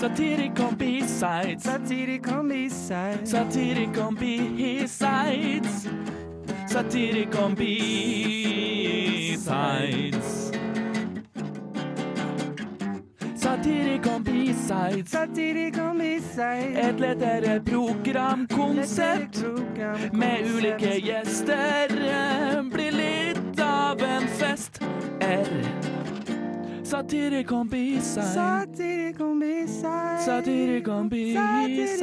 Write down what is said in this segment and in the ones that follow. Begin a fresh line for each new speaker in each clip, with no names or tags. Satirical B-sides.
Satirical B-sides.
Satirical B-sides. Satirical B-sides. Satirical B-sides.
Satirical B-sides.
Et lettere programkonsept med ulike gjester. Blir litt av en fest. R. Satirical B-sides.
Satirical B-sides.
Satire kan bli sides.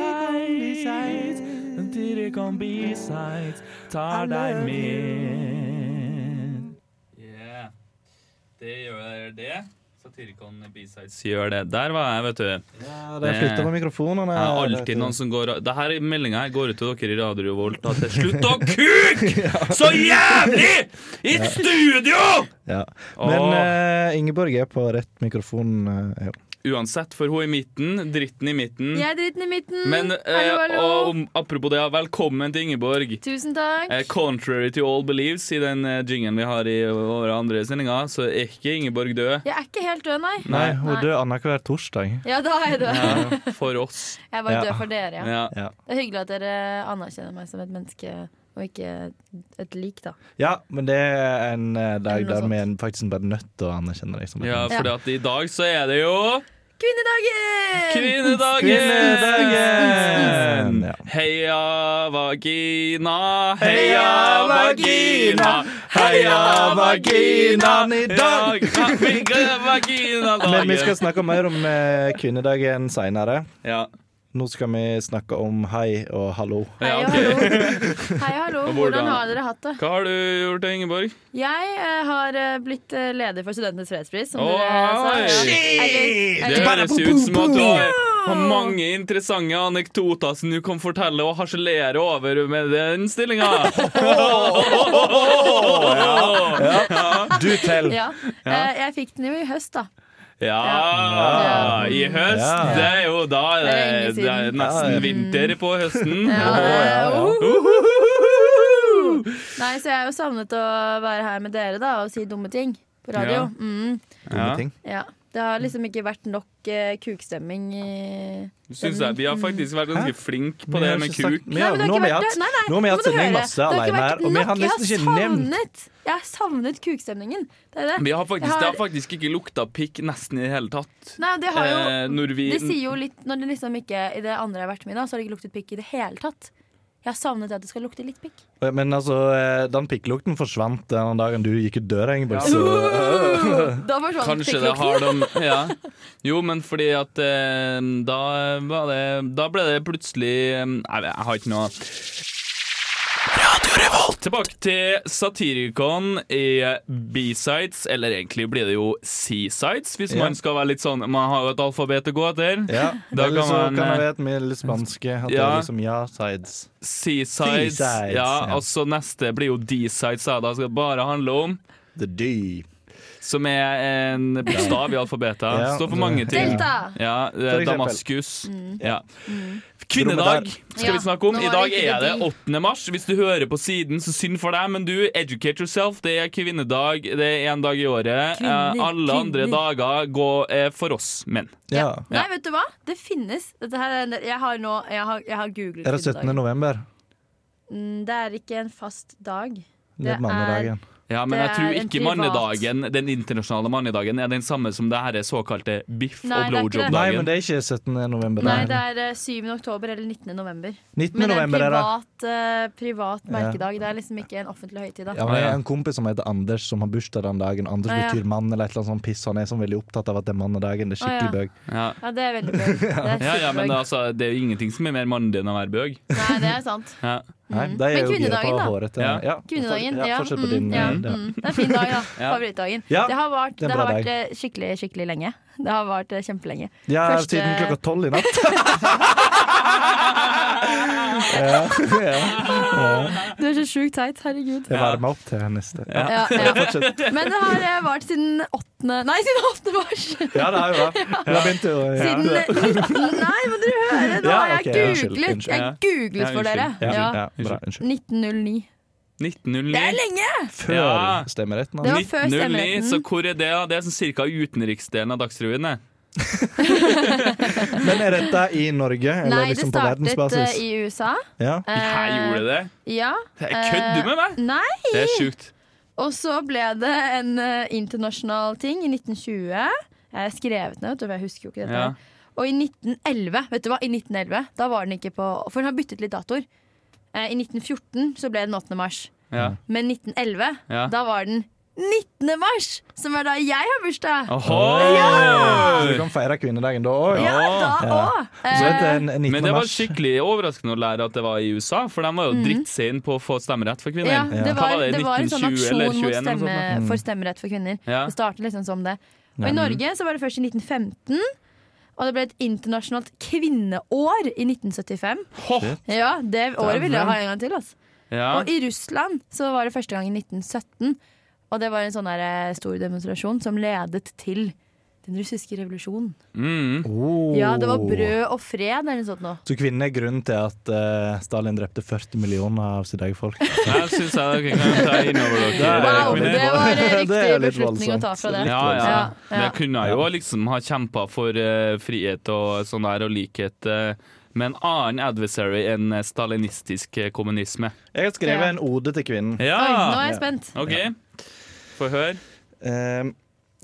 Satire kan bli sides. Tar
I
deg
love
med.
Yeah. Det gjør det. Satirikon B-sides gjør det. Der var jeg, vet du.
Ja, det er flytta på mikrofonene.
Jeg har
vet
Eh, alltid
du.
noen som går Det her meldinga her går ut til dere i Radio Volt at det er slutt å kuke så jævlig i et studio!
ja. Men
Åh.
eh, Ingeborg er på rett mikrofon. eh, jo.
Uansett, for hun i midten, dritten i midten.
Jeg er dritten i midten.
Mm. Men eh,
hallo, hallo.
og om- apropos det, velkommen til Ingeborg.
Tusen takk.
Eh, Contrary to all believes i den eh, jingen vi har i våre andre sendinger, så er ikke Ingeborg død.
Jeg er ikke helt død, nei.
Nei, hun
Nei.
dør annenhver torsdag.
Ja, da er jeg død.
Ja, for oss.
Jeg var
Ja.
død for dere, ja.
Ja.
Ja.
Det er hyggelig at dere anerkjenner meg som et menneske, og ikke et lik, da.
ja, men det er en eh, dag
Eller noe
der vi er faktisk bare nødt til å anerkjenne deg som et
ja,
menneske.
for i dag så er det jo
Kvinnedagen!
Kvinnedagen!
Kvinnedagen! Ja.
Heia vagina, heia vagina, heia vaginaen i dag! Heia Vaginadagen!
Men vi skal snakke mer om eh, kvinnedagen seinere.
ja.
Nå skal vi snakke om hei og hallo.
Hei
Ja,
og
ok.
hallo. Hei og hallo.
Og hvordan-
Hvordan har dere hatt det?
Hva har du gjort, Ingeborg?
Jeg eh, har eh, blitt eh, leder for Studentenes fredspris, som
Oi!
dere sa. Ja.
Det
Eller- eller-
høres ut som at du har, har mange interessante anekdoter som du kan fortelle og harselere over med den stillinga.
Du til!
Ja. Eh, Jeg fikk den jo i høst, da.
Ja, i høst.
Ja.
Det er jo da det,
Det er lenge
det er
siden.
nesten
Ja, ja.
vinter på høsten.
Ja,
ja, ja.
det-
Uhuhuhu!
Nei, så jeg har jo savnet å være her med dere da og si dumme ting på radio.
Ja.
Mm,
Dumme ting.
ja. Det har liksom ikke vært nok eh, kukstemming i
Syns jeg, Vi har faktisk vært ganske flinke på det med kuk.
Mm. Vi har,
men det
nå
har
har vi
ikke vært
hatt,
det. Nei, nei,
nå har vi
nå
hatt
må du
sending
høre.
masse
Det har ikke
alene
vært sånn
her, og vi
nok.
har
Jeg
nesten ikke nevnt
savnet, Jeg har savnet kukstemningen. Det er det.
Vi har faktisk,
Jeg har-
Det har faktisk ikke lukta pikk nesten i det hele tatt.
Nei, det har jo
Eh, når vi,
Det sier jo litt Når det liksom ikke I det andre jeg har vært med i, da, så har det ikke luktet pikk i det hele tatt. Jeg har savnet at det skal lukte litt pikk.
Men altså, eh, den pikklukten forsvant den dagen du gikk ut døra, Ingeborg.
Ja.
Så,
Da sånn, forsvant
Kanskje det
pikklukten.
har de ja. Jo, men fordi at eh, da, var det, da ble det plutselig eh, Nei, jeg har ikke noe Tilbake til Satirikon i B-sides, eller egentlig blir det jo C-sides, hvis
Ja.
man skal være litt sånn Man har jo et alfabet å gå etter.
ja.
Da
Eller
kan
så
man, eh,
kan jeg vite med litt spanske at det
Ja.
er liksom ja sides.
C-sides.
C-sides,
Ja,
ja.
og så neste blir jo D-sides, da. Da skal det bare handle om
The D.
Som er en bokstav i alfabetet.
Ja.
Står for mange ting.
Delta! Mm.
Ja, eh,
For eksempel.
Damaskus. Ja. Kvinnedag
Dromedar.
skal vi
Ja,
snakke om.
nå
I
er
dag
det ikke
er det
de.
8. mars. Hvis du hører på siden, så synd for deg, men du, educate yourself. Det er kvinnedag. Det er én dag i året.
Kvinner,
Eh, Alle andre
kvinner.
dager går eh, for oss menn.
Ja.
Nei, vet du hva? Det finnes. Dette her er, jeg har nå Jeg har, jeg har googlet
Er det 17.
kvinnedag.
november?
Mm, Det er ikke en fast dag.
Det
Det
er mannedagen.
Ja, men
Det
jeg tror
er en
ikke
privat-
mannedagen, den internasjonale mannedagen er den samme som det her såkalte biff-
Nei,
og
det er ikke det.
Nei, men
blowjob-dagen.
det er ikke 17. november.
Nei,
det
det
er-
er eh, 7. oktober eller 19. november.
19.
Men det er en
november er det.
privat, eh, privat merkedag. Det er liksom ikke en offentlig høytid.
Ja,
Da.
men
Ah,
jeg har en kompis som heter Anders, som har bursdag den dagen. Anders
Ah, ja.
betyr mann eller et eller annet sånt piss. Han er sånn veldig opptatt av at det er mannedagen. Det er
Ah, ja.
skikkelig bøg.
Ja.
Ja, det er veldig bra. Det er
Ja, ja, men
superbra.
altså, det er jo ingenting som er mer mannlig enn å være bøg.
Nei, det er sant.
Ja.
Nei,
Mm.
de er
Men
jo gira
kvinnedagen,
på
da?
håret. til-
Ja.
Ja.
Kvinnedagen,
Ja,
ja.
forskjell på
mm,
din,
ja,
eh, det.
mm. Det er en fin dag, da.
Ja.
Favorittdagen.
Ja,
Det har vart,
det er en
det har
bra
vært
dag.
eh, skikkelig, skikkelig lenge. Det har vart eh, kjempelenge.
Ja,
Første-
siden klokka tolv i natt. ja, ja.
Du er så sjukt teit. Herregud.
Jeg varmer opp til neste. Ja,
Ja, ja.
fortsett.
Men det har eh, vart siden 8. Nei, siden 8. mars!
ja det er jo det. Vi har begynt å ja.
Siden 19 Nei, må dere høre! Nå
Ja,
har
ok,
jeg
unnskyld,
googlet.
unnskyld.
Jeg
Ja. Ja,
googlet for dere.
unnskyld,
Ja.
Ja.
ja, bra. Unnskyld.
1909. Det er
1909.
lenge!
Før
Ja.
stemmeretten.
Det
altså.
var før
1909, så
stemmeretten.
hvor er det? da? Det er sånn cirka utenriksdelen av Dagsrevyen. det.
Men er dette i Norge, eller
Nei,
liksom på
det startet
verdensbasis?
eh, i USA. Eh,
Ja.
Her gjorde det det.
Ja. eh,
Jeg kødder du med meg?
Nei.
Det er sjukt.
Og så ble det en eh, internasjonal ting i 1920. Jeg har skrevet ned, vet du, for jeg husker jo ikke dette.
Ja.
her. Og i 1911, vet du hva, i 1911, da var den ikke på For den har byttet litt datoer. Eh, I 1914 så ble den 8. mars.
Ja.
Men 1911,
Ja.
da var den 19. mars! Som er da jeg har bursdag!
Så du
Ohoi!
kan feire kvinnedagen da òg?
Ja, eh, da
Ja.
òg!
Så dette er en 19.
Men det var
mars.
skikkelig overraskende å lære at det var i USA, for de var jo drittseine på å få stemmerett for kvinner.
Mhm. ja,
Ja.
det,
Hva
var,
var det,
det var en sånn
1920 eller 21 eller
aksjon mot
noe
stemme,
sånt,
for stemmerett for kvinner.
Ja.
Det startet liksom som det. Og i Norge så var det først i 1915. Og det ble et internasjonalt kvinneår i 1975.
Hå!
Ja, Det året ville jeg ha en gang til. Altså.
Ja.
Og i Russland så var det første gang i 1917. Og det var en sånn der, eh, stor demonstrasjon som ledet til den russiske revolusjonen.
Mm.
Oh.
Ja, det var brød og fred eller noe sånt nå.
Så kvinnene er grunnen til at eh, Stalin drepte 40 millioner av sitt eget folk?
Jeg syns jeg dere kan ta inn over dere.
Wow,
kvinner.
det var eh,
Det er
riktig
litt
beslutning å ta fra det.
Ja, ja.
Ja, ja.
Men jeg kunne jo liksom ha kjempa for eh, frihet og sånn der, og likhet eh, med en annen adversary enn eh, stalinistisk eh, kommunisme.
Jeg har skrevet
Ja.
en ode til kvinnen.
Ja!
Oi, nå er jeg spent.
OK. Få høre.
Eh,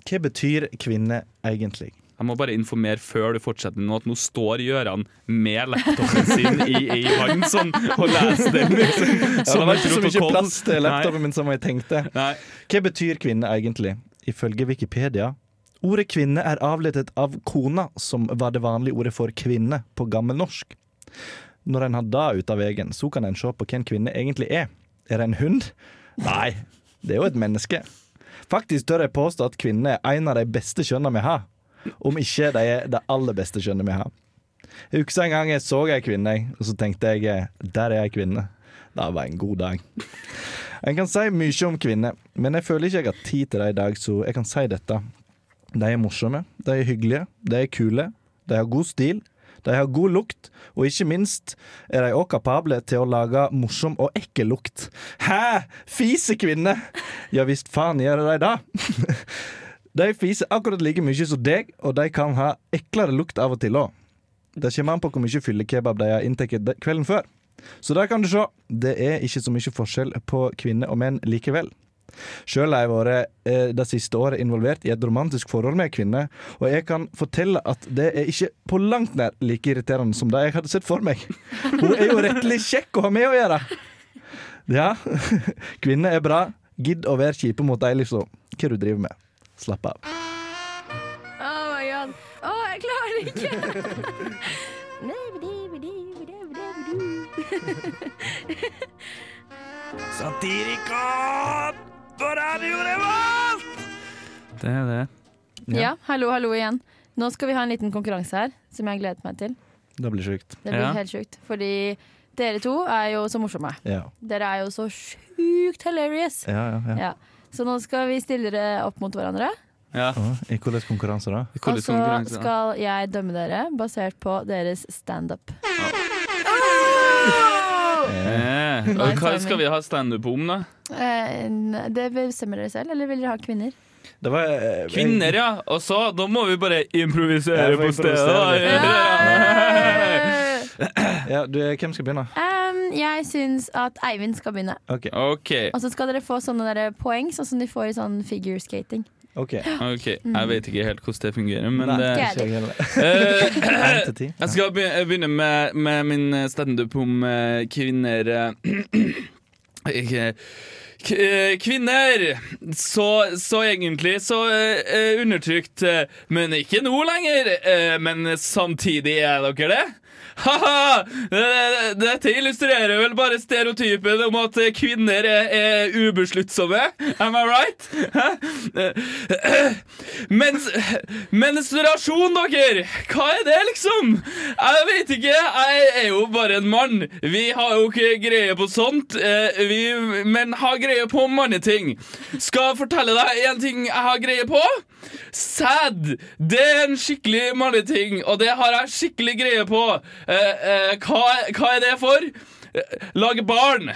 hva betyr kvinne egentlig?
Jeg må bare informere før du fortsetter nå at nå står Gøran med laptopen sin i ei hånd sånn, og leser den. Liksom,
Ja, det
som
var
en
ikke så mye
protokoll.
plass til
Nei.
laptopen min som jeg tenkte.
Nei.
Hva betyr kvinne egentlig? Ifølge Wikipedia Ordet kvinne er avledet av kona, som var det vanlige ordet for kvinne på gammelnorsk. Når en har det ut av veien, så kan en se på hvem kvinne egentlig er. Er det en hund? Nei, det er jo et menneske. Faktisk tør jeg påstå at kvinne er en av de beste kjønnene vi har. Om ikke de er det aller beste kjønnet vi har. Jeg husker en gang jeg så ei kvinne, og så tenkte jeg eh, der er ei kvinne. Det var en god dag. En kan si mye om kvinner, men jeg føler ikke jeg har tid til det i dag, så jeg kan si dette. De er morsomme, de er hyggelige, de er kule, de har god stil, de har god lukt, og ikke minst er de òg kapable til å lage morsom og ekkel lukt. Hæ! Fisekvinne! Ja visst faen gjør de det. De fiser akkurat like mye som deg, og de kan ha eklere lukt av og til òg. Det kommer an på hvor mye fyllekebab de har inntatt de- kvelden før. Så der kan du se, det er ikke så mye forskjell på kvinner og menn likevel. Sjøl har jeg vært eh, det siste året involvert i et romantisk forhold med en kvinne, og jeg kan fortelle at det er ikke på langt nær like irriterende som det jeg hadde sett for meg. Hun er jo rettelig kjekk å ha med å gjøre! Ja, kvinner er bra. Gidd å være kjipe mot deg, liksom. Hva du driver med. Slapp av.
Oh my god. Å, jeg klarer det ikke!
Satirikon på Radio Revolt!
Det er det.
Ja, hallo, hallo igjen. Nå skal vi ha en liten konkurranse her, som jeg har gledet meg til.
Det blir sjukt.
Det blir
Ja.
helt sjukt, fordi dere to er jo så morsomme.
Ja.
Dere er jo så sjukt hilarious.
Ja, ja, ja.
Ja. Så nå skal vi stille dere opp mot hverandre.
Ja.
Å, I hvilken konkurranse da?
Og
Hvordan konkurranse,
så
da?
Altså, skal jeg dømme dere basert på deres standup.
Eh, og
Nei,
Hva
timing.
skal vi ha standup om, da?
Eh, Det bestemmer dere selv, eller vil dere ha kvinner?
Det var eh,
Kvinner, ja. Og så, da må vi bare improvisere
Ja, vi
på
får
stedet.
improvisere litt.
Ja.
Ja, du, eh, hvem skal begynne?
Um, jeg syns at Eivind skal begynne.
OK.
OK.
Og så skal dere få sånne der poeng, sånn som de får i sånn figure skating.
ok
ok Jeg vet ikke helt hvordan det fungerer, men det,
Nei.
Eh,
Én til ti.
Jeg skal be- begynne med, med min standup om eh, kvinner eh, ikke- k- eh, Kvinner! Så, så egentlig så eh, eh, undertrykt, eh, men ikke nå lenger. eh, Men samtidig er dere det. Ha-ha! Eh, Dette illustrerer vel bare stereotypen om at eh, kvinner er, er ubesluttsomme. Am I right? Hæ? Eh, Mens, menstruasjon, dere! Hva er det, liksom? Jeg vet ikke. Jeg er jo bare en mann. Vi har jo ikke greie på sånt, eh, vi, men har greie på manneting. Skal fortelle deg en ting jeg har greie på. Sæd! Det er en skikkelig manneting, og det har jeg skikkelig greie på. Eh, eh, hva, hva er det for? Lage barn!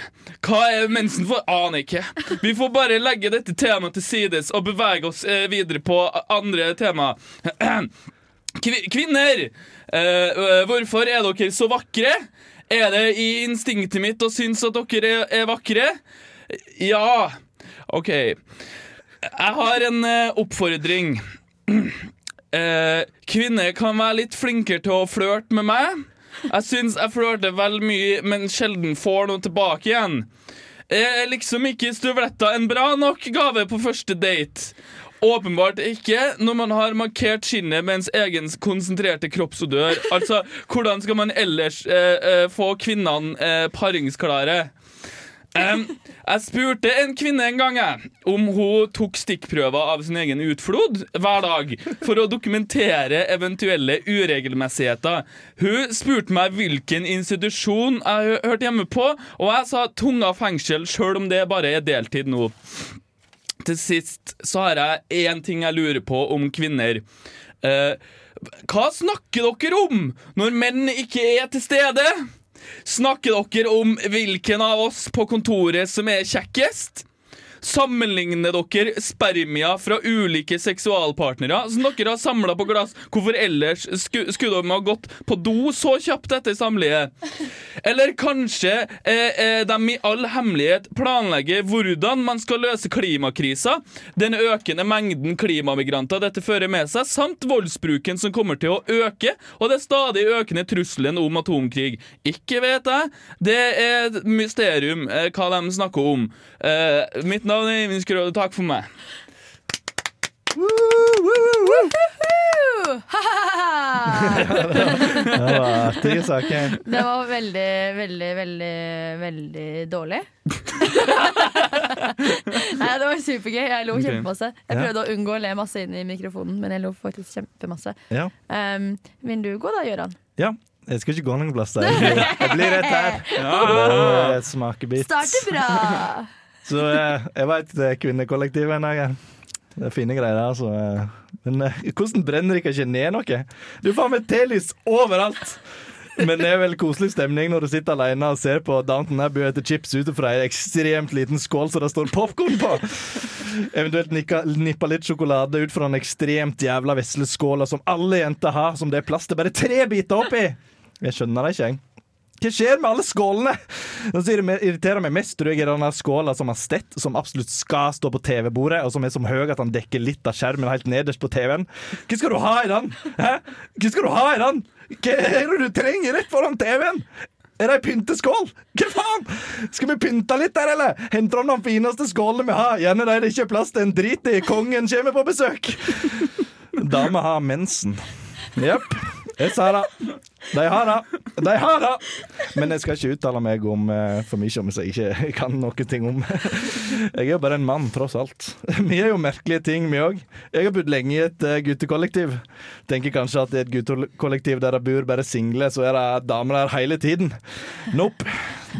Hva er mensen for? Aner ikke. Vi får bare legge dette temaet til sides og bevege oss eh, videre på andre tema. Kvi- Kvinner! eh, øh, hvorfor er dere så vakre? Er det i instinktet mitt å synes at dere er, er vakre? Ja. OK. Jeg har en eh, oppfordring. Eh, kvinner kan være litt flinkere til å flørte med meg. Jeg syns jeg flørter vel mye, men sjelden får noe tilbake igjen. Jeg er liksom ikke støvletta en bra nok gave på første date. Åpenbart ikke når man har markert skinnet med ens egen konsentrerte kroppsodør. Altså, hvordan skal man ellers eh, eh, få kvinnene eh, paringsklare? Em, jeg spurte en kvinne en gang jeg, om hun tok stikkprøver av sin egen utflod hver dag for å dokumentere eventuelle uregelmessigheter. Hun spurte meg hvilken institusjon jeg hø- hørte hjemme på, og jeg sa tunga fengsel, sjøl om det bare er deltid nå. Til sist så har jeg én ting jeg lurer på om kvinner. Eh, hva snakker dere om når menn ikke er til stede? Snakker dere om hvilken av oss på kontoret som er kjekkest? Sammenligner dere spermia fra ulike seksualpartnere som dere har samla på glass? Hvorfor ellers sku, skulle de ha gått på do så kjapt etter samliet? Eller kanskje eh, eh, de i all hemmelighet planlegger hvordan man skal løse klimakrisa, den økende mengden klimamigranter dette fører med seg, samt voldsbruken som kommer til å øke, og det stadig økende trusselen om atomkrig. Ikke vet jeg. Det er et mysterium eh, hva de snakker om. Eh, mitt navn er Eivind Skrøde. Takk for meg.
Ah!
Det var artige saker.
Det var veldig, veldig, veldig, veldig dårlig. Nei, det var supergøy. Jeg lo
Ok.
kjempemasse. Jeg
Ja.
prøvde å unngå å le masse inn i mikrofonen, men jeg lo faktisk kjempemasse.
Ja.
Um, vil du gå da, Gøran?
ja. Jeg skal ikke gå noen plass der. Jeg blir- Jeg blir rett her. Det er et smakebit.
Starter bra!
Så eh, jeg var et eh, kvinnekollektiv en dag. jeg. Det er fine greier, altså. eh. Men eh, hvordan brenner dere ikke ned noe? Du får med telys overalt! Men det er vel koselig stemning når du sitter alene og ser på Downton Abbey etter chips ut fra ei ekstremt liten skål som det står popkorn på. Eventuelt nikka- nippa litt sjokolade ut fra en ekstremt jævla vesle skål som alle jenter har, som det er plass til bare tre biter oppi. Jeg skjønner det ikke, jeg. Hva skjer med alle skålene? Det som irri- irriterer meg mest, tror jeg, er den der skåla som har stett, som absolutt skal stå på TV-bordet, og som er så høy at han dekker litt av skjermen helt nederst på TV-en. Hva skal du ha i den? Hæ? Hva skal du ha i den? Hva er det du trenger rett foran TV-en? Er det ei pynteskål? Hva faen? Skal vi pynte litt der, eller? Hente fram de fineste skålene vi har. Gjerne de det ikke er plass til en drit i. Kongen kommer på besøk. Damer har mensen. Jepp. Jeg sa det. De har det. De har det. Men jeg skal ikke uttale meg om eh, for mye om hvis jeg ikke kan noen ting om. Jeg er jo bare en mann, tross alt. Vi er jo merkelige ting, vi òg. Jeg har bodd lenge i et eh, guttekollektiv. Tenker kanskje at i et guttekollektiv der det bor bare single, så er det damer der hele tiden. Nope.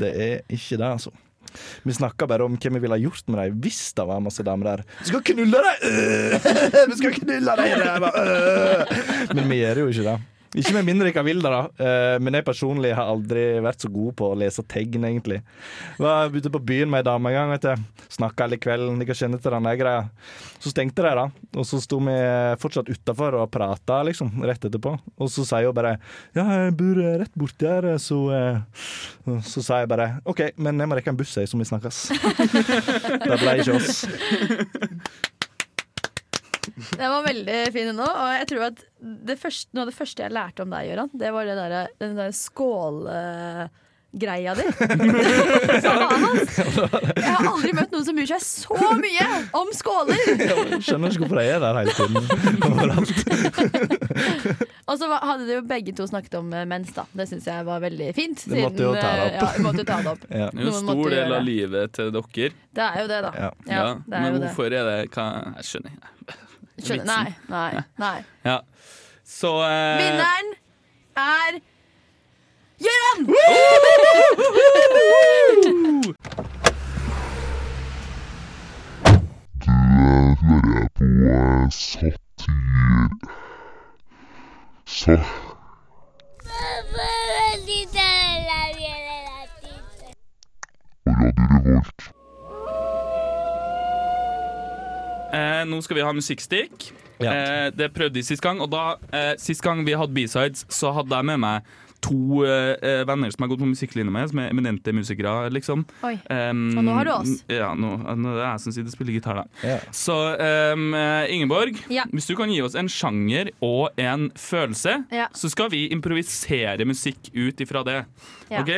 Det er ikke det, altså. Vi snakka bare om hva vi ville ha gjort med dem hvis det var masse damer der. Vi skal knulle dem! Øh! Vi skal knulle dem! i ræva! Øh! Men vi gjør jo ikke det. Ikke med mindre jeg vil det, da. Eh, Men jeg personlig har aldri vært så god på å lese tegn, egentlig. Var ute på byen med ei dame en gang, vet du. Snakka hele kvelden, dere kjenner til den der greia. Så stengte de, da. Og så sto vi fortsatt utafor og prata, liksom, rett etterpå. Og så sier hun bare Ja, jeg bor eh, rett borti her, eh, så eh, Så sa jeg bare OK, men jeg må rekke en buss, jeg, så vi snakkes. det ble ikke oss.
Den var veldig fin nå, og jeg tror at det første, noe av det første jeg lærte om deg, Gøran, det var det der, den der skålgreia di. Faen, ass. Jeg har aldri møtt noen som bryr seg så mye om skåler!
Skjønner ikke hvorfor jeg er der hele tiden. Overalt.
Og så var- hadde de jo begge to snakket om eh, mens, da. Det syns jeg var veldig fint.
Det måtte jo ta det
eh,
opp.
Ja, vi måtte jo ta det opp.
Ja.
Det er jo en
Noen måtte
stor del
gjøre
av
det.
livet til dere.
Det er jo det,
Ja.
da. Ja, det er
men
jo det.
hvorfor er det hva Jeg skjønner ikke.
Skjønner. Nei, nei, nei.
Ja. Så eh,
Vinneren er Gøran!
på eh, satir. Så
Maldita la viola
og Radio Revolt.
Eh, nå skal vi ha musikkstikk.
Ja.
Eh, det prøvde de sist gang, og da, eh, sist gang vi hadde B-sides, så hadde jeg med meg to eh, eh, venner som jeg har gått på musikklinje med, som er eminente musikere, liksom.
Oi.
Em,
Og nå har du oss.
Ja, nå, nå er det jeg som sitter og spiller gitar, da.
Ja.
Så em, eh, Ingeborg,
Ja.
hvis du kan gi oss en sjanger og en følelse,
Ja.
så skal vi improvisere musikk ut ifra det.
Ja.
OK?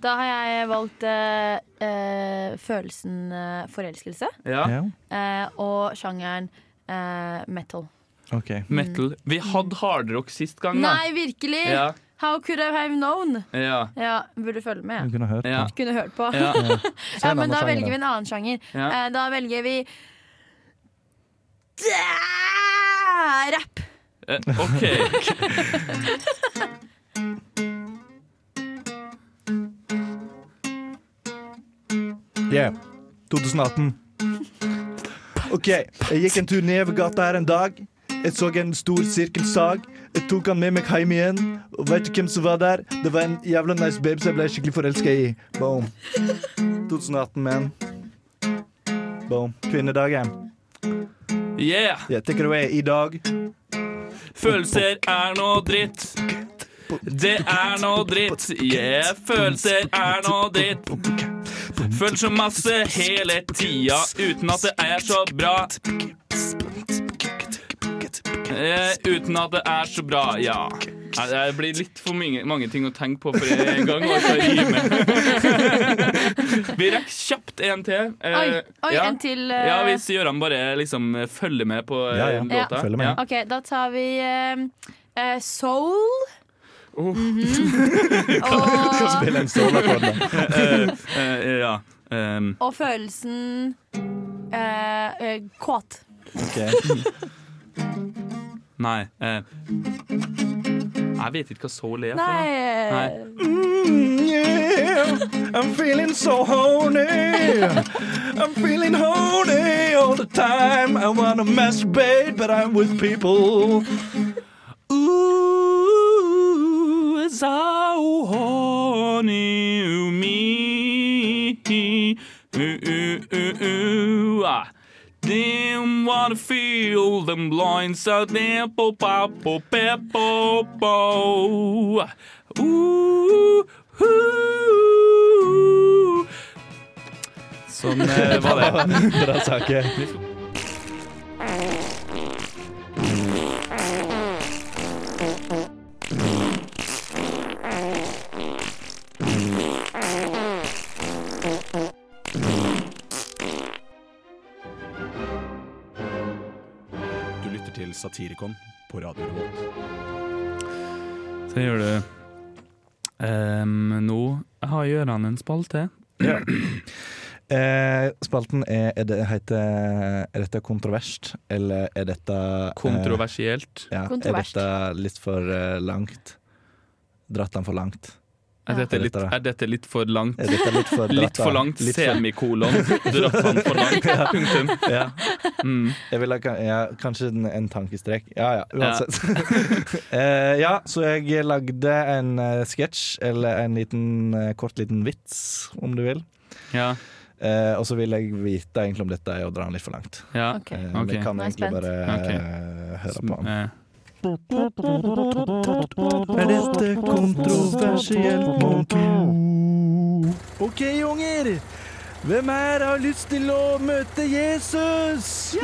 Da har jeg valgt eh, eh, følelsen eh, forelskelse
Ja.
Ja.
eh, og sjangeren eh, metal.
OK.
Metal. Vi hadde hardrock sist gang, da.
Nei, virkelig!
Ja.
How could I have known?
Ja.
Ja, Burde følge
Du
med.
kunne hørt
Ja.
på.
Kunne hørt på.
Ja.
Se
Ja,
en
men
annen
da
sjanger,
velger vi en annen sjanger.
Ja.
Eh, da velger vi Rapp.
Eh, OK.
Yeah. 2018. OK, jeg gikk en tur nedover gata her en dag. Jeg så en stor sirkelsag. Jeg tok han med meg hjem igjen. Og vet du hvem som var der? Det var en jævla nice babe som jeg ble skikkelig forelska i. Boom. 2018, man. Boom. Kvinnedagen.
Yeah!
Yeah, take it away. I dag
Følelser er noe dritt. Det er noe dritt. Yeah, følelser er noe dritt. Føler så masse hele tida uten at det er så bra. Eh, uten at det er så bra, ja. Nei, Det blir litt for mange, mange ting å tenke på for en gang. Og så rimer. Vi rekker kjapt en til. Eh,
Oi, oi
ja.
en til. eh,
Ja, hvis Gøran bare liksom eh, følger med på eh,
Ja, ja.
Ja.
låta.
Følger med.
Ja.
OK, da tar vi eh, eh, Soul.
Oh.
Mhm. og,
spiller en soloakkord.
Eh, eh, ja. Ehm,
og følelsen eh, eh, kåt.
Okay.
nei. eh. jeg vet ikke hva soul er. for noe.
Nei, eh,
Mm, yeah, I'm feeling so horny. I'm feeling horny all the time. I wanna masturbate, but I'm with people.
Ooh, it's so horny to me. Ooh, ooh, ooh, ooh. I didn't wanna feel them lines so dimple, popple, pepple, bo. Ooh, ooh. Sånn eh, var det.
Bra saker.
Du lytter til Satirikon på Radio Revolt.
Det gjør du. Ehm, nå har Gøran en spalte.
Eh, spalten er, er det, heter Er dette kontroverst, eller er dette eh,
Kontroversielt.
ja,
Kontroverst.
Er dette litt for eh, langt? Dratt den for langt?
Er dette litt, er dette litt for langt?
Er dette litt for, dratt
Litt for
den-
langt,
litt for-
semikolon. Dratt han for langt. Punktum.
Ja.
Mm.
Jeg ville ka- ja, kanskje en, en tankestrek. Ja ja, uansett. Eh, ja, så jeg lagde en eh, sketsj, eller en liten, eh, kort liten vits, om du vil.
Ja,
Eh, og så vil jeg vite egentlig om dette er å dra den litt for langt.
ja.
OK.
Eh, men
Ok.
Jeg kan
Nå er jeg
egentlig
spent.
bare eh, høre på den.
Eh,
Er dette kontroversielt, mon tro? OK, unger. Hvem her har lyst til å møte Jesus?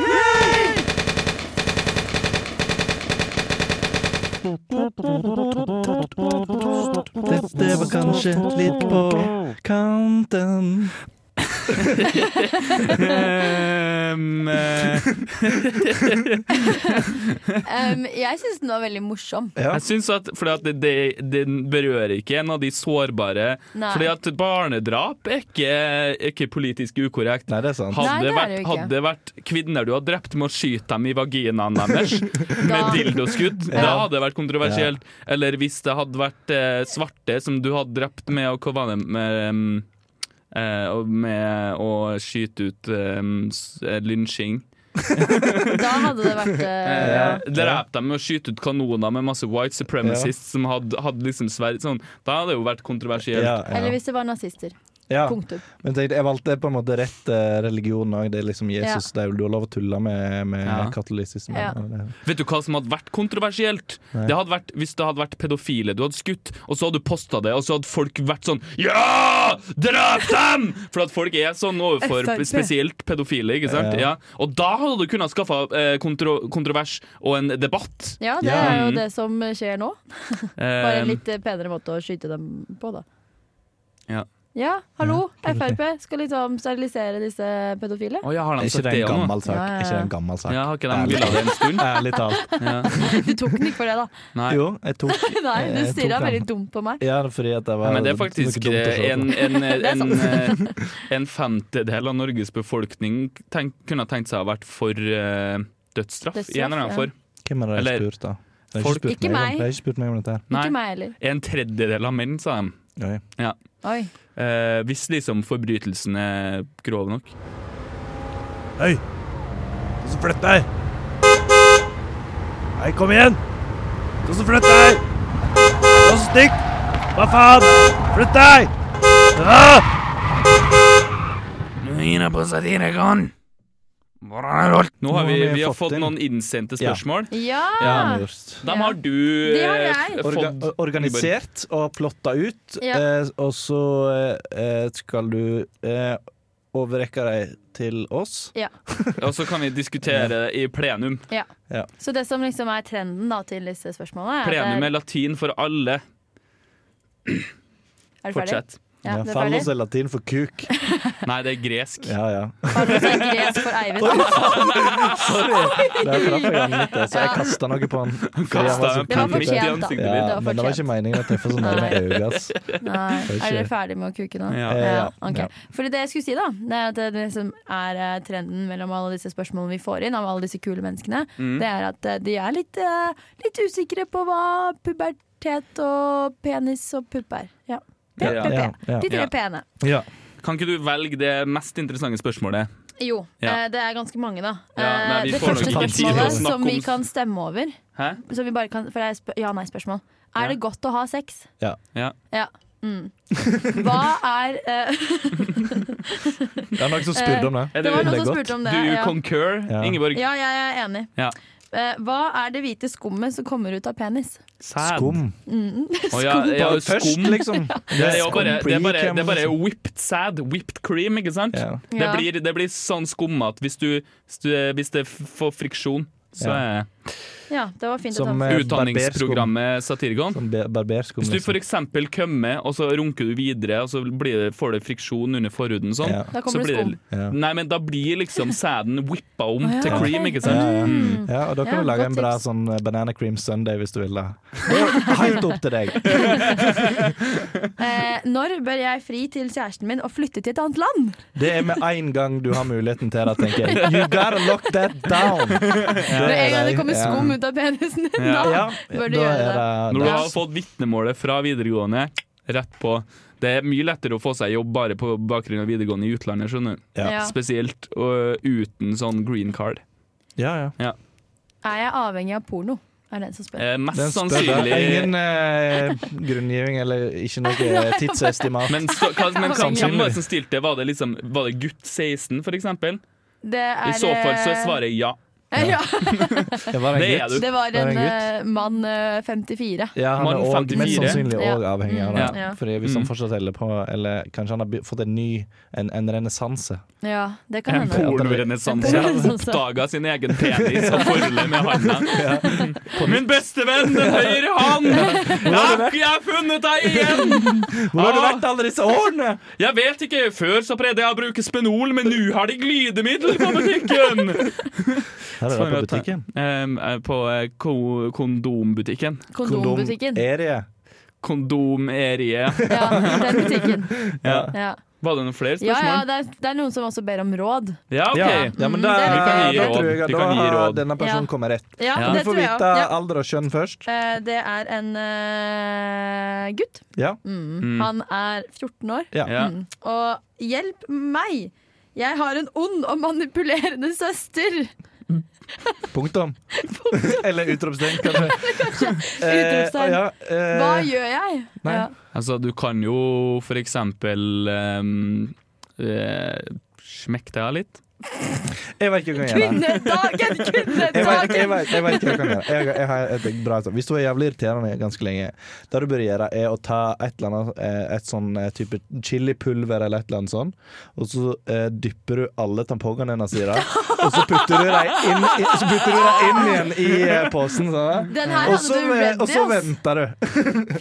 Dette var kanskje litt på kanten.
ehm, eh,
Um, jeg syns den var veldig morsom.
Ja.
Jeg syns at fordi at det, det, Den berører ikke en av de sårbare.
Nei.
Fordi at barnedrap er ikke, er ikke politisk ukorrekt.
Nei, det er sant.
Nei,
Hadde
det
det
er
vært,
det jo ikke.
hadde det vært kvinner du har drept med å skyte dem i vaginaen deres med
Da-
dildoskudd, da
Ja.
hadde det vært kontroversielt. Eller hvis det hadde vært eh, svarte som du hadde drept med å, hva var det, med, em, eh, og med å skyte ut em, s- eh, lynsjing.
Da hadde det vært eh,
Eh, Drep dem med å skyte ut kanoner med masse white supremacists som hadde, hadde liksom sverd sånn. Da hadde det jo vært kontroversielt.
Ja,
Eller
ja.
hvis det var nazister.
Ja.
Punktum.
Men jeg, tenkte, jeg valgte på en måte rett eh, religion òg. Det er liksom Jesus. Det er, jo- du har lov å tulle med, med
Ja.
katolisismen.
Ja.
og det-
Vet du hva som hadde vært kontroversielt?
Nei.
Det hadde vært Hvis det hadde vært pedofile du hadde skutt, og så hadde du posta det, og så hadde folk vært sånn Ja! Drep dem! For at folk er sånn overfor
FrP.
spesielt pedofile, ikke sant?
Ja.
Ja. Og da hadde du kunnet skaffa eh, kontro kontrovers og en debatt.
Ja, det
Ja.
er jo
Mm.
det som skjer nå. Bare en
Eh,
litt eh, penere måte å skyte dem på, da.
Ja.
Ja, hallo!
Ja, det er
Frp skal liksom sterilisere disse pedofile.
Å ja, har de
Er ikke
sagt
det
det
en
òg nå?
gammel sak?
Ja, ja, ja.
Er Ikke det en gammel sak?
Ja, har ikke de villet det en stund?
Ærlig talt.
Ja.
Du tok den ikke for det, da. Eh,
Nei.
Jo, jeg tok
Nei, du
jeg
stirra
tok den.
veldig dumt på meg.
Ja, fordi at det var
Nei, men det er
var ikke
faktisk eh,
dumt å se på.
en, en,
er
en, eh, en, femtedel av Norges befolkning tenk, kunne tenkt seg å ha vært for eh, dødsstraff, i en eller annen
Dødsstraff,
form.
Hvem er det jeg
Eller-
spurt, da? De har
Folk-
spurt
Ikke
meg
meg.
Om, de har ikke spurt meg om dette her.
Nei,
Ikke meg heller.
en tredjedel av menn, sa de.
Oi.
Oi.
Eh, hvis liksom forbrytelsen er grov nok.
Hei! Du som flytt deg! Hei, kom igjen! Du som flytt deg! Du som stikk! Hva faen? Flytt deg! Ah!
Nå gir jeg på satirekon! Nå har vi, vi har fått
inn.
noen innsendte
Ja.
spørsmål.
Ja!
Ja, men just.
Dem
Ja.
har du
Det har
eh,
jeg.
f-
Orga
fått.
organisert og plotta ut,
Ja.
eh, og så eh, skal du eh, overrekke deg til oss.
Og så kan vi diskutere det i plenum.
Så det som liksom er trenden da til disse spørsmålene er at
Plenum
det-
er latin for alle.
Er du ferdig?
Fortsett.
Ja,
Ja,
det er ferdig.
Fallos er latin for kuk.
Nei, det er gresk.
Ja, ja.
Fallos er gresk sånn for Eivind.
Sorry! Der traff jeg han litt, så jeg
Ja.
kasta noe på han. Fordi han
Kasta
var så
en
Det var
penn midt i
fortjent, da.
ansiktet
Ja,
ditt.
Det var
men det var ikke meningen å treffe så nær med øyet. ass.
Nei.
Kanskje.
Er dere ferdig med å kuke nå?
Ja.
Eh, ja.
ok.
Ja.
Fordi det jeg skulle si, da, det er at det liksom er eh, trenden mellom alle disse spørsmålene vi får inn av alle disse kule menneskene, det er at eh, de er litt, eh, litt usikre på hva pubertet og penis og pupp er. Ja. P,
Ja.
p, p.
Ja, ja.
Ja.
De tre p-ene.
Ja.
Kan ikke du velge det mest interessante spørsmålet?
Jo,
Ja.
eh, det er ganske mange, da.
Ja,
Eh,
nei, vi
det
får
første
nok ikke tid til å
spørsmålet
snakke
som
om-
vi kan stemme over,
Hæ?
som vi bare kan, for det er sp- ja-nei-spørsmål. Er
Ja.
det godt å ha sex?
Ja.
Ja. Mm. Hva er eh,
Det er noen som spurte om det.
Er
Det
det
var noen som
godt?
spurte om
du
det. ja.
concur,
Ja.
Ingeborg?
Ja, jeg er enig.
Ja.
Eh, Hva er det hvite skummet som kommer ut av penis?
Sæd.
Skum.
Å ja, ja,
Bare først,
skum.
liksom.
Det er, jo
Skum
bare, det, er bare,
pre-cam,
det er bare
liksom.
whipped sad, whipped cream, ikke sant?
Ja.
Det,
Ja.
blir, det blir sånn skummet hvis, du- hvis, du- hvis det f- får friksjon. Så
Ja.
er
Ja, det var fint å ta
Som,
med.
eh,
utdanningsprogrammet Satirikon.
Sånn be- barberskum.
Hvis du
liksom.
f.eks. kømmer, og så runker du videre, og så blir det, får det friksjon under forhuden, sånn,
Ja.
Da
så
kommer
blir
det skum.
det
Ja.
Nei, men da blir liksom sæden whippa om
Å, ja,
til
ok.
cream, ikke sant?
Ja, ja.
Mm.
Ja, og da kan
Ja,
du lage
godt
en bra
tips.
sånn eh, banana cream sunday hvis du vil det. Det er jo Helt opp til deg.
Eh, når bør jeg fri til kjæresten min og flytte til et annet land?
Det er med en gang du har muligheten til det, tenker jeg. You gotta lock that down!
Når en gang det
deg.
kommer
Ja.
skum ut av penisen din,
Ja.
da
Ja,
bør du
da
gjøre det.
er
Når du
det.
har fått vitnemålet fra videregående, rett på. Det er mye lettere å få seg jobb bare på bakgrunn av videregående i utlandet, skjønner du.
Ja.
Ja.
Spesielt og uten sånn green card.
Ja, ja.
Er jeg avhengig av porno? Er den som spør.
Eh, mest
Den
sånn
spør deg.
sannsynlig
Ingen eh, grunngiving eller ikke noe eh, tidsestimat.
men, så, hva, men hva,
Sannsynlig.
hvem var det som stilte? Var det, liksom, var det gutt 16, for eksempel?
Det er,
I så fall så er
eh,
svaret ja.
eh, ja.
Det var en
Det er
gutt.
du.
Det var
Det er
en
en
eh, mann eh, 54.
Ja, han er
Mann
og,
54.
mest sannsynlig
Ja.
òg avhengig av
Mm,
det.
ja.
Fordi hvis han
Mm.
fortsatt holder på, eller kanskje han har by- fått en ny en, en renessanse.
Ja, det kan
En
hende.
pornorenessanse.
En pornorenessanse.
Oppdaga sin egen penis og forholdet med handa. Min beste venn, den høyre hånd! Jeg, jeg har funnet deg igjen!
Hvor har du
Ah.
vært alle disse årene?!
Jeg vet ikke, før så prøvde jeg å bruke Spenol, men nå har de glidemiddel på butikken!
Her er det på butikken.
Em, eh, på eh, ko kondombutikken.
Kondombutikken.
Erie.
Kondomerie.
Ja, den butikken.
Ja.
Ja.
Var det noen flere
Ja, ja,
spørsmål?
det er, det er noen som også ber om råd.
Ja, ok.
Ja, ja, men da,
Mm, det
Vi kan gi
da
råd.
tror jeg at
Vi
da
kan gi
har
råd.
denne personen
Ja.
kommet rett.
Ja,
Ja.
Du
det
får
tror jeg
vite
også. Ja.
alder og kjønn først.
Eh, Det er en eh, gutt.
Ja.
Mm.
Mm.
Han er 14 år.
Ja.
Ja.
Mm. Og hjelp meg! Jeg har en ond og manipulerende søster!
Punktum. Eller utropstegn, kanskje. Eh,
utropstegn.
ja, eh,
Hva gjør jeg?
Nei.
Ja.
Altså, du kan jo for eksempel ehm, eh, Smekke deg av litt.
jeg vet ikke hva jeg kan gjøre.
Kvinnedagen!
Jeg vet, jeg, vet,
Kvinnedagen!
jeg vet ikke hva jeg kan gjøre. Jeg, jeg har et bra svar. Hvis du er jævlig irriterende ganske lenge, det du bør gjøre, er å ta et eller annet eh, Et sånn eh, type chilipulver eller et eller annet sånn, og så eh, dypper du alle tampongene dine sier det, og så putter du dem inn, i- så putter du dem inn igjen i eh, posen. Sånn.
Den her
Og
hadde
så
du
ve- og
ready,
så
ass.
venter du.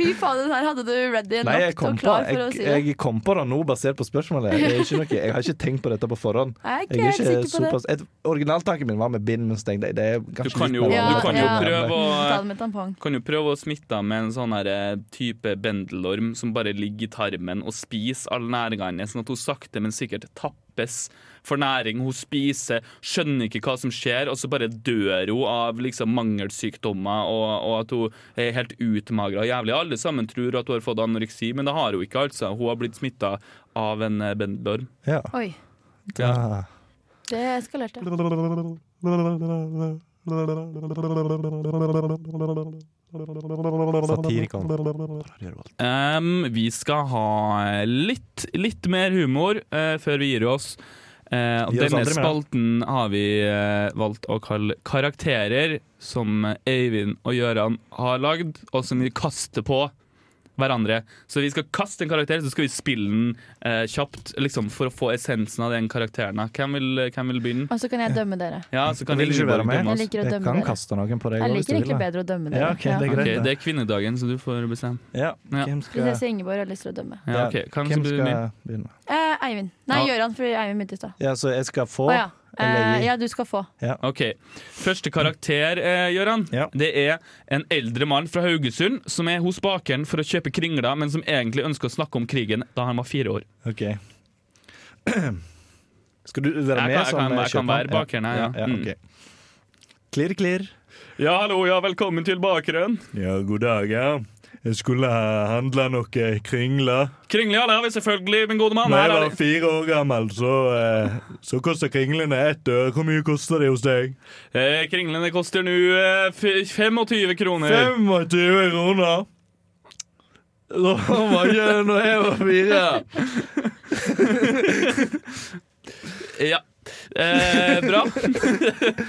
Fy faen, den her hadde du ready
Nei,
nok
jeg kom
og
på,
klar for å
jeg,
si det.
jeg kom på det nå, basert på spørsmålet. Det er ikke noe, jeg har ikke tenkt på dette på forhånd.
Jeg er ikke
Jeg er
helt
ikke
sikker på det.
såpass et, Originaltanken min var med bind, men så tenkte jeg det er
Du
kanskje
kan
litt
jo,
mer
du
Ja,
kan jo
ja.
prøve å eh,
Ta det med tampong.
kan jo prøve å smitte deg med en sånn her eh, type bendelorm som bare ligger i tarmen og spiser all næringen hennes, sånn at hun sakte, men sikkert tappes for næring. Hun spiser, skjønner ikke hva som skjer, og så bare dør hun av liksom mangelsykdommer og, og at hun er helt utmagra og jævlig. Alle sammen tror at hun har fått anoreksi, men det har hun ikke, altså. Hun har blitt smitta av en eh, bendelorm.
Ja.
Oi,
Ah.
det eskalerte.
Satirikon.
Em, vi skal ha litt, litt mer humor eh, før vi gir oss. Eh, og
Gi oss
denne
aldri mer.
spalten har vi eh, valgt å kalle karakterer, som Eivind og Gøran har lagd, og som vi kaster på hverandre. Så vi skal kaste en karakter, så skal vi spille den eh, kjapt liksom, for å få essensen av den karakteren. her. Hvem vil, hvem vil begynne?
Og så kan jeg dømme dere.
Ja, så kan
Vil ikke
Ingeborg
være med?
dømme
Jeg
oss.
liker å
Jeg
dømme
kan
dere.
kaste noen på deg.
Jeg
også, hvis
liker
du vil
egentlig
det.
bedre å dømme
Ja,
dere.
ok, det er
Ok,
greit.
det er kvinnedagen, så du får bestemme.
Ja,
Ja.
hvem skal,
Prinsesse Ingeborg har lyst til å dømme.
Ja, ok. Hvem
hvem
skal du begynne?
skal begynne?
Eh, Eivind. Nei,
Ja.
Gøran, for Eivind begynte i stad.
Ja, så jeg skal få
Å ja.
eller
Eh,
gi.
ja, du skal få.
Ok, Første karakter, eh, Gøran,
Ja.
det er en eldre mann fra Haugesund som er hos bakeren for å kjøpe kringler, men som egentlig ønsker å snakke om krigen da han var fire år.
Ok. Skal du være
Jeg
med
kan- jeg
som
kan- jeg
eh,
kan
kjøpmann?
være bakeren her, ja.
ja,
Mm.
ok. Klirr, klirr.
Ja, hallo, ja, velkommen til bakeren.
Ja, god dag, ja. Jeg skulle handle noe kringler.
Kringler, ja, det har vi selvfølgelig, min gode mann.
Når
Her
jeg
har
var
vi-
fire år gammel, så, eh, så kosta kringlene ett øre. Hvor mye koster de hos deg?
Eh, kringlene koster nå eh, f- 25 kroner.
25 kroner! Da var ikke det når jeg var fire.
Ja. Eh, bra.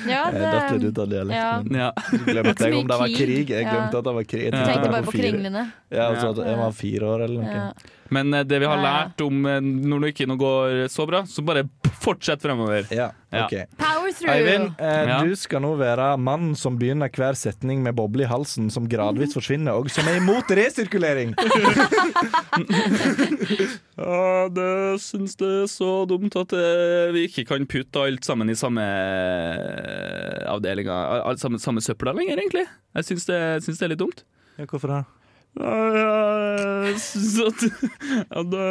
Ja,
Jeg Eh, datt litt
det,
ut av
Ja.
dialekten min.
Ja.
Jeg Glemte
så
jeg
mye
om det var
krig.
krig? Jeg
Ja.
glemte at det var krig. Jeg
jeg
tenkte
tenkte
jeg var
bare på
fire.
kringlene.
Ja, altså at jeg var fire år eller noe.
Ja.
Men eh, det vi har
Ja, ja.
lært om eh, når det ikke noe går så bra, så bare fortsett fremover.
Ja,
Ja.
ok.
Power through!
Eivind, eh,
Ja.
du skal nå være mannen som begynner hver setning med boble i halsen som gradvis forsvinner, og som er imot resirkulering.
Ja, det syns det er så dumt at eh, vi ikke kan putte alt sammen i samme eh, avdelinga. Alt sammen samme søpla lenger, egentlig. Jeg syns det, jeg syns det er litt dumt.
Ja, hvorfor det?
Jeg syns at, at det,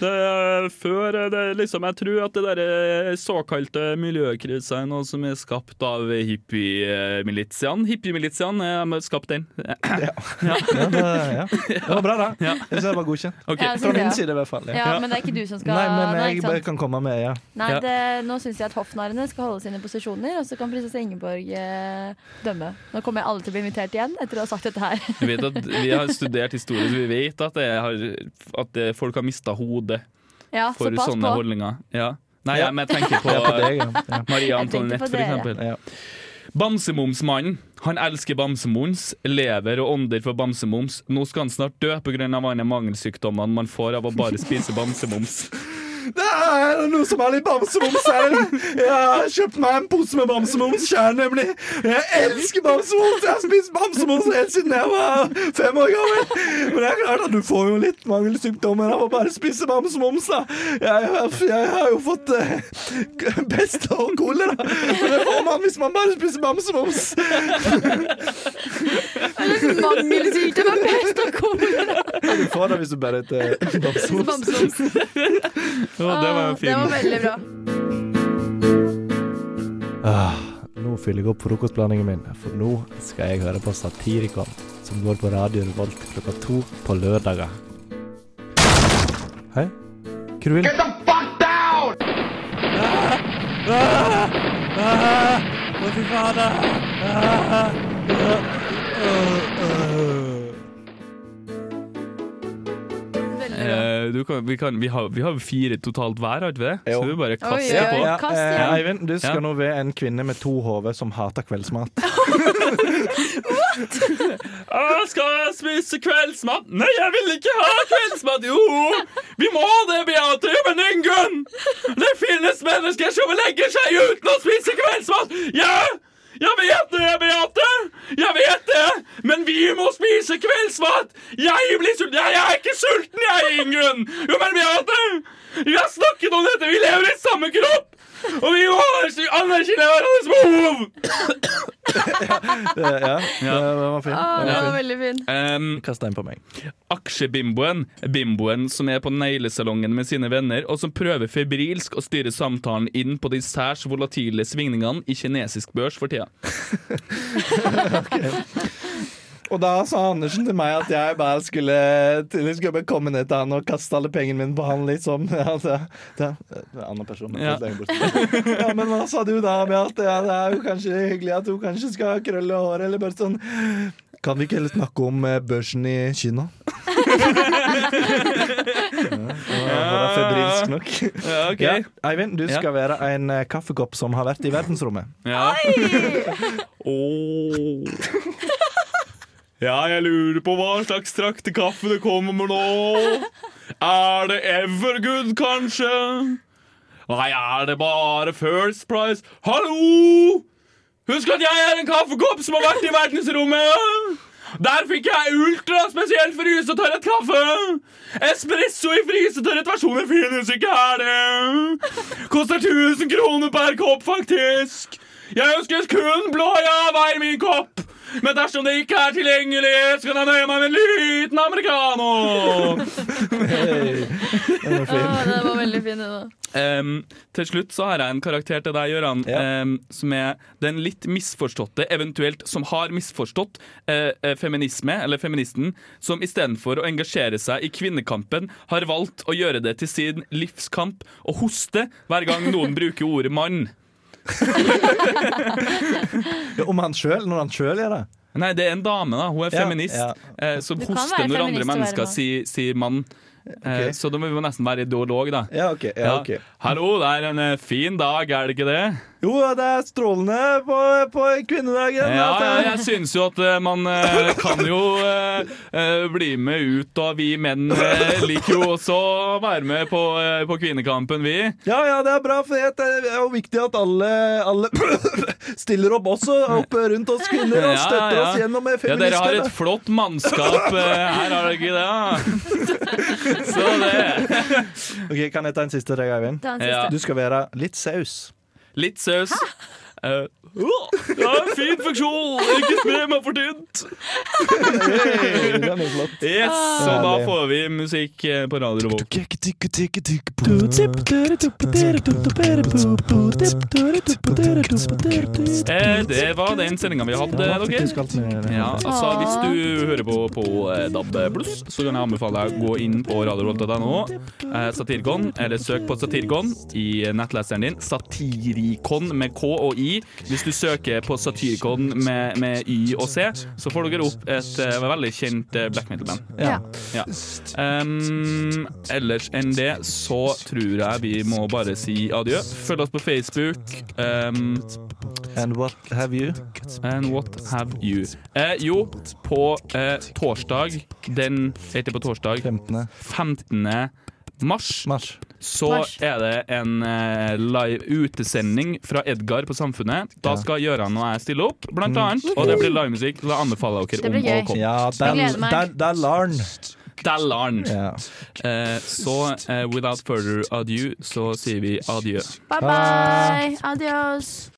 det er før det er liksom Jeg tror at det der eh, såkalte miljøkrisa er noe som er skapt av hippiemilitiaene. Hippiemilitiaene har skapt den.
Ja, det, ja. det var bra, da.
Ja.
Jeg synes det var godkjent.
Ok.
Ja,
Fra
det,
min side, i hvert fall. Ja.
Ja, men det er ikke du som skal
Nei, men
Nei,
jeg
ikke
bare
sant?
kan komme med, ja.
Nei,
Ja.
det, nå syns jeg at hoffnarrene skal holde sine posisjoner, og så kan prinsesse Ingeborg eh, dømme. Nå kommer jeg alle til å bli invitert igjen etter å ha sagt dette her.
Du vet at Vi har studert historie, så vi vet at, det har, at det, folk har mista hodet.
Ja,
for
så pass
sånne
på.
holdninger. Ja. Nei,
Ja.
jeg- men jeg tenker på,
Ja, på deg, ja. ja.
Maria
Jeg tenkte
Antoinette,
på
for
dere.
Ja.
eksempel. Bamsemumsmannen. Han elsker bamsemums, lever og ånder for bamsemums. Nå skal han snart dø pga. alle mangelsykdommene man får av å bare spise bamsemums.
Det er noe som er litt bamsemums her. Jeg har kjøpt meg en pose med bamsemums sjøl, nemlig. Jeg elsker bamsemums. Jeg har spist bamsemums helt siden jeg var fem år gammel. Men det er klart at du får jo litt mangelsykdommer av å bare spise bamsemums, da. Jeg, har- jeg har jo fått eh, pest og kolera. Men det får man hvis man bare spiser bamsemums.
Eller mangelsykdom er best å komme
Du får det hvis du bare spiser bamsemums.
Å, det var jo
Åh, det var
fint.
veldig bra.
Ah, nå fyller jeg opp frokostblandingen min, for nå skal jeg høre på Satirikon, som går på Radio Revolt klokka to på lørdager. Hei? Hva du vil? Get the fuck down! Ah, ah,
Å, fy fader! Ah, ah, ah, ah.
Veldig bra.
Eh, du kan, vi, kan, vi, har, vi har fire totalt hver, har vi ikke det?
Jo.
Så du bare
Oi,
kaster
oi,
på.
oi.
Ja,
Kast
eh,
igjen.
Eivind, du skal
Ja.
nå være en kvinne med to hoder som hater kveldsmat.
Jeg skal spise kveldsmat. Nei, jeg vil ikke ha kveldsmat. Jo, vi må det, Beate, men Ingunn. Det finnes mennesker som legger seg uten å spise kveldsmat. Ja, jeg vet det, Beate. Jeg vet det. Men vi må spise kveldsmat. Jeg blir sulten. Jeg, jeg er ikke sulten, jeg, Ingunn. Jo, men Beate, vi har snakket om dette. Vi lever i samme kropp. Og vi må anerkjenne hverandres behov.
Eh, ja, det var fint.
Å,
Det var
den
fint.
var veldig fin.
Um,
Kast en på meg.
Aksjebimboen, bimboen som er på neglesalongen med sine venner, og som prøver febrilsk å styre samtalen inn på de særs volatile svingningene i kinesisk børs for tida.
Og da sa Andersen til meg at jeg bare skulle, til- skulle bare komme ned til han og kaste alle pengene mine på han, liksom. Ja, det, det, det er en annen person.
Ja.
Det er en person. ja, men hva sa du da, Beate? Ja, det er jo kanskje hyggelig at hun kanskje skal krølle håret, eller bare sånn Kan vi ikke heller snakke om eh, børsen i Kina? ja, det var febrilsk nok.
Ja, ok.
Ja, Eivind, du
Ja.
skal være en eh, kaffekopp som har vært i verdensrommet.
Ja. Åh. Ja, jeg lurer på hva slags strakte kaffe det kommer med nå. Er det Evergood, kanskje? Nei, er det bare First Price? Hallo! Husk at jeg er en kaffekopp som har vært i verdensrommet! Der fikk jeg ultraspesielt frysetørret kaffe! Espresso i frysetørret versjoner finnes ikke her, det! Koster 1000 kroner per kopp, faktisk! Jeg ønsker kun blå av hver min kopp! Men dersom det ikke er tilgjengelig, så kan jeg nøye meg med en liten americano!
Å, den var veldig fin, den òg.
Ehm, til slutt så har jeg en karakter til deg, Gøran,
Ja.
ehm, som er den litt misforståtte, eventuelt som har misforstått, eh, eh, feminisme, eller feministen, som istedenfor å engasjere seg i kvinnekampen, har valgt å gjøre det til sin livskamp og hoste hver gang noen bruker ordet mann.
Ja, om han sjøl, når han sjøl gjør det.
Nei, det er en dame, da. Hun er
Ja,
feminist.
ja.
eh, som
Du kan
hoster
være
når andre
feminist og være
mennesker
mann.
sier, sier mann.
Ok.
Eh, Så da må vi jo nesten være ideolog, da.
Ja, ok. Ja,
Ja.
ok.
Hallo, det er en eh, fin dag, er det ikke det?
Jo, det er strålende på, på kvinnedagen.
Ja,
at
ja,
jeg-
jeg syns jo at eh, man eh, kan jo eh, eh, bli med ut, og vi menn eh, liker jo også å være med på, eh, på kvinnekampen, vi.
ja, ja, det er bra, for det er jo viktig at alle, alle stiller opp også, opp rundt oss kvinner, og
Ja,
støtter
ja.
oss gjennom
Ja, dere har
feministene.
et flott mannskap eh, her, har dere ikke det? da? Så det
Ok, Kan jeg ta en siste til deg, Eivind?
Ta den
Ja.
siste.
Du skal være litt saus.
Litt saus. Eh, åh, ja, fin funksjon! Ikke spre meg for tynt!
Hey, den er flott.
Yes, og da får vi musikk eh, på Radio Revolt. Eh, det var den sendinga vi hadde, dere. Ja, altså Hvis du hører på på eh, DAB pluss, så kan jeg anbefale deg å gå inn på radiorolt.no, eh, Satirikon, eller søk på Satirikon i eh, nettleseren din. Satirikon med K og I. Hvis du søker på Satirikon med, med Y og C, så får dere opp et eh, veldig kjent eh, black metal-band.
Ja.
Ja. Ehm, ellers enn det så tror jeg vi må bare si adjø. Følg oss på Facebook. ehm,
And what have you?
And what have you? Eh, jo, på eh, torsdag Den heter på torsdag
15.
15. mars.
mars.
Så
Mars.
er det en eh, live utesending fra Edgar på Samfunnet. Da skal Gøran og jeg stille opp, blant annet. Og det blir livemusikk. Da anbefaler jeg
Det
dere
blir
om å
gøy.
komme.
Mm. Ja, der,
gleder meg.
der, der lar den.
Dallar'n.
Ja.
Eh, så eh, without further ado, så sier vi adjø.
Bye bye. Adios.